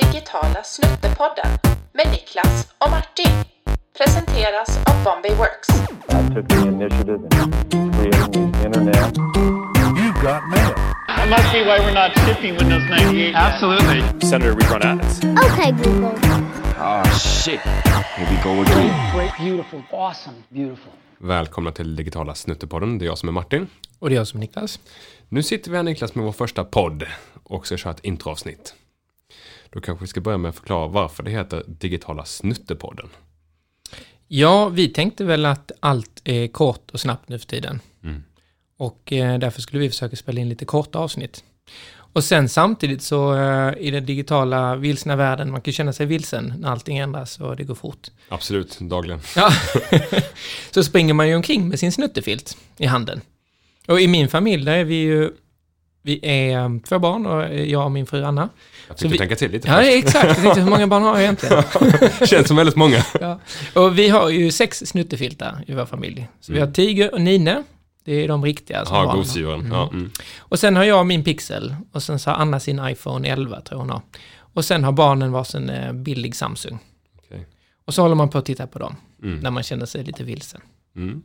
Digitala snuttepodden med Niklas och Martin. Presenteras av Bombay Works. I took the initiative in creating the internet. You've got mail. That must be why we're not shipping Windows 98. Absolutely. Senator, we run ads. Okay, Google. Great, beautiful, awesome, beautiful. Välkomna till Digitala Snuttepodden. Det är jag som är Martin. Och det är jag som är Niklas. Nu sitter vi här Niklas med vår första podd och ska köra ett introavsnitt. Då kanske vi ska börja med att förklara varför det heter Digitala Snuttepodden. Ja, vi tänkte väl att allt är kort och snabbt nu för tiden. Och eh, därför skulle vi försöka spela in lite korta avsnitt. Och sen samtidigt så eh, i den digitala vilsna världen, man kan känna sig vilsen när allting ändras och det går fort. Absolut, dagligen. Ja. så springer man ju omkring med sin snuttefilt i handen. Och i min familj där är vi ju, vi är eh, två barn och jag och min fru Anna. Jag Så fick vi... vi- tänka till lite. Ja, exakt. Jag tänkte, hur många barn har jag egentligen? först. Känns som väldigt många. Ja. Och vi har ju sex snuttefiltar i vår familj. Så vi har Tiger och Nine. Det är de riktiga som Ja, barnen gosedjuren. Ja, mm. Och sen har jag min Pixel. Och sen så har Anna sin iPhone 11, tror jag hon har. Och sen har barnen varsin eh, billig Samsung. Okej. Och så håller man på att titta på dem, när man känner sig lite vilsen. Mm.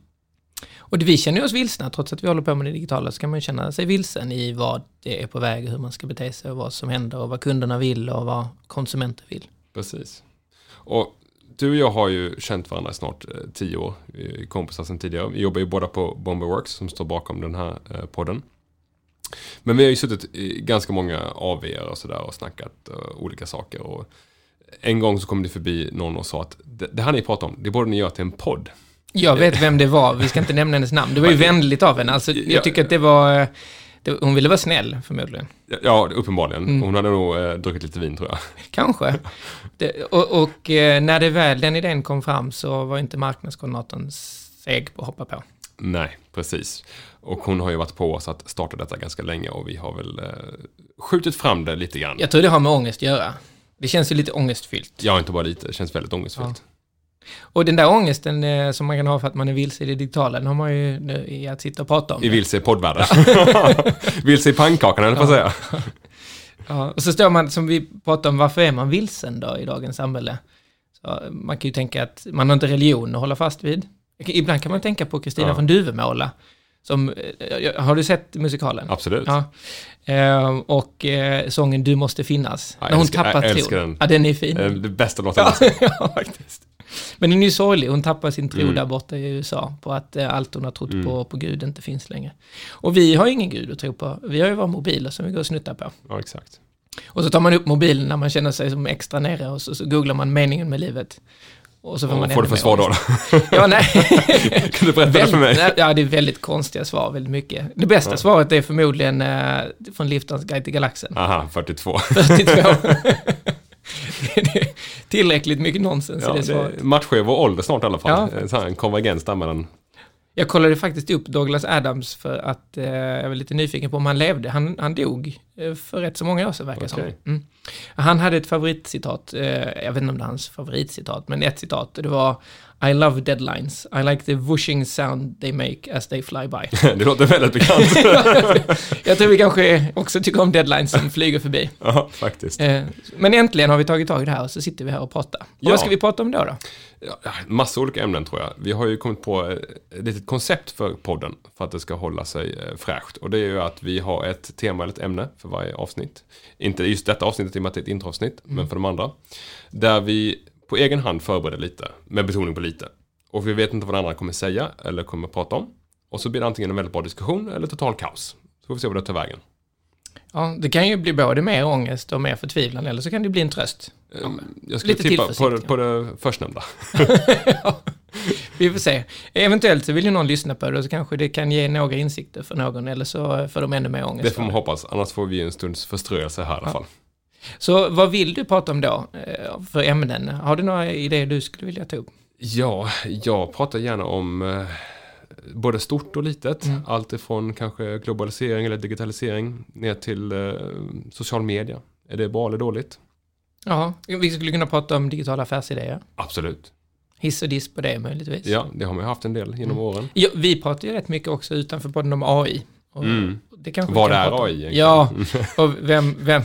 Och det, vi känner ju oss vilsna, trots att vi håller på med det digitala, så kan man ju känna sig vilsen i vad det är på väg, och hur man ska bete sig och vad som händer och vad kunderna vill och vad konsumenter vill. Precis. Och du och jag har ju känt varandra i snart eh, tio år, Vi är kompisar sedan tidigare. Vi jobbar ju båda på Bomber Works som står bakom den här eh, podden. Men vi har ju suttit i ganska många AVR och sådär och snackat eh, olika saker. Och en gång så kom det förbi någon och sa att det det här ni pratar om, det borde ni göra till en podd. Jag vet vem det var, vi ska inte nämna hennes namn. Det var ju vänligt av henne. Alltså, Ja. jag tycker att det var... eh, Det, hon ville vara snäll, förmodligen. Ja, uppenbarligen. Hon hade nog eh, druckit lite vin tror jag. Kanske. Det, och, och eh, när det väl den idén kom fram så var inte marknadskoordinatorn seg på att hoppa på. Nej, precis. Och hon har ju varit på oss att starta detta ganska länge och vi har väl eh, skjutit fram det lite grann. Jag tror det har med ångest att göra. Det känns ju lite ångestfyllt. Ja, inte bara lite. Det känns väldigt ångestfyllt. Och den där ångesten eh, som man kan ha för att man är vilse i det digitala, den har man ju nu i att sitta och prata om. I det. vilse i poddvärlden. vilse i pannkakan, höll jag på att säga. Ja, och så står man, som vi pratade om, varför är man vilsen då i dagens samhälle? Så man kan ju tänka att man har inte religion att hålla fast vid. Ibland kan man tänka på Kristina Ja. från Duvemåla. Som, eh, har du sett musikalen? Absolut. Ja. Ehm, och eh, sången Du måste finnas. Ja, jag när hon älskar- tappar jag tron. älskar den. Ja, den är fin. Eh, Det bästa låten någonsin. ja, faktiskt. Men den är ju sorglig. Hon tappar sin tro Mm. där borta i USA på att eh, allt hon har trott på, på Gud inte finns längre. Och vi har ju ingen Gud att tro på. Vi har ju våra mobiler som vi går och snuttar på. Ja, exakt. Och så tar man upp mobilen när man känner sig som extra nere och så, så googlar man meningen med livet. Och så får man Vad får du ännu för svar mer då? ångest. Ja, nej. kan du berätta det för mig? Nej, Ja, det är väldigt konstiga svar, väldigt mycket. Det bästa svaret är förmodligen eh, från Liftans guide till galaxen. Aha, 42. 42. Det är Tillräckligt mycket nonsens Ja, i det det svaret. matchar ju vår ålder snart i alla fall. Ja. Eh, Så här, en konvergens där mellan... Jag kollade faktiskt upp Douglas Adams för att eh, jag var lite nyfiken på om han levde. Han, han dog eh, för rätt så många år sedan verkar det Okej. som. Mm. Han hade ett favoritcitat, eh, jag vet inte om det är hans favoritcitat, men ett citat. och Det var I love deadlines. I like the whooshing sound they make as they fly by. Det låter väldigt bekant. jag tror vi kanske också tycker om deadlines som flyger förbi. ja, faktiskt. Eh, men äntligen har vi tagit tag i det här och så sitter vi här och pratar. Och Ja. Vad ska vi prata om då? då? Ja, massa olika ämnen tror jag. Vi har ju kommit på eh, ett litet koncept för podden för att det ska hålla sig eh, fräscht. Och det är ju att vi har ett tema eller ett ämne för varje avsnitt. Inte just detta avsnittet i och med att det är ett introavsnitt, men för de andra. Där vi på egen hand förbereder lite, med betoning på lite. Och vi vet inte vad den andra kommer säga eller kommer prata om. Och så blir det antingen en väldigt bra diskussion eller total kaos. Så får vi se vad det tar vägen. Ja, det kan ju bli både mer ångest och mer förtvivlan, eller så kan det bli en tröst. Ehm, Jag skulle lite tippa på, tillförsikt, det- ja. på det förstnämnda. Vi får se. Eventuellt så vill ju någon lyssna på det och så kanske det kan ge några insikter för någon, eller så får de ännu mer ångest. Det får man hoppas, annars får vi ju en stunds förströelse här i alla fall. Så vad vill du prata om då, eh, för ämnen? Har du några idéer du skulle vilja ta upp? Ja, jag pratar gärna om eh, både stort och litet. Mm. Allt ifrån kanske globalisering eller digitalisering ner till eh, social media. Är det bra eller dåligt? Ja, vi skulle kunna prata om digitala affärsidéer. Absolut. Hiss och diss på det möjligtvis. Mm. Ja, det har man ju haft en del genom åren. Ja, vi pratar ju rätt mycket också utanför podden om AI. Och Mm. Det kanske vi Vad kan är prata om. AI egentligen? Ja, och vem, vem,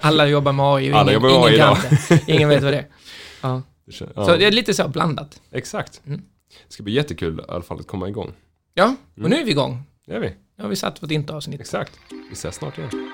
alla jobbar med AI och Alla ingen, jobbar med ingen AI kan idag. det. Ingen vet vad det är. Ja. Ja, Så det är lite så här blandat. Exakt. Mm. Det ska bli jättekul i alla fall att komma igång. Ja, och nu är vi igång. Det är vi. Nu har vi satt vårt introavsnitt. Exakt. Vi ses snart igen.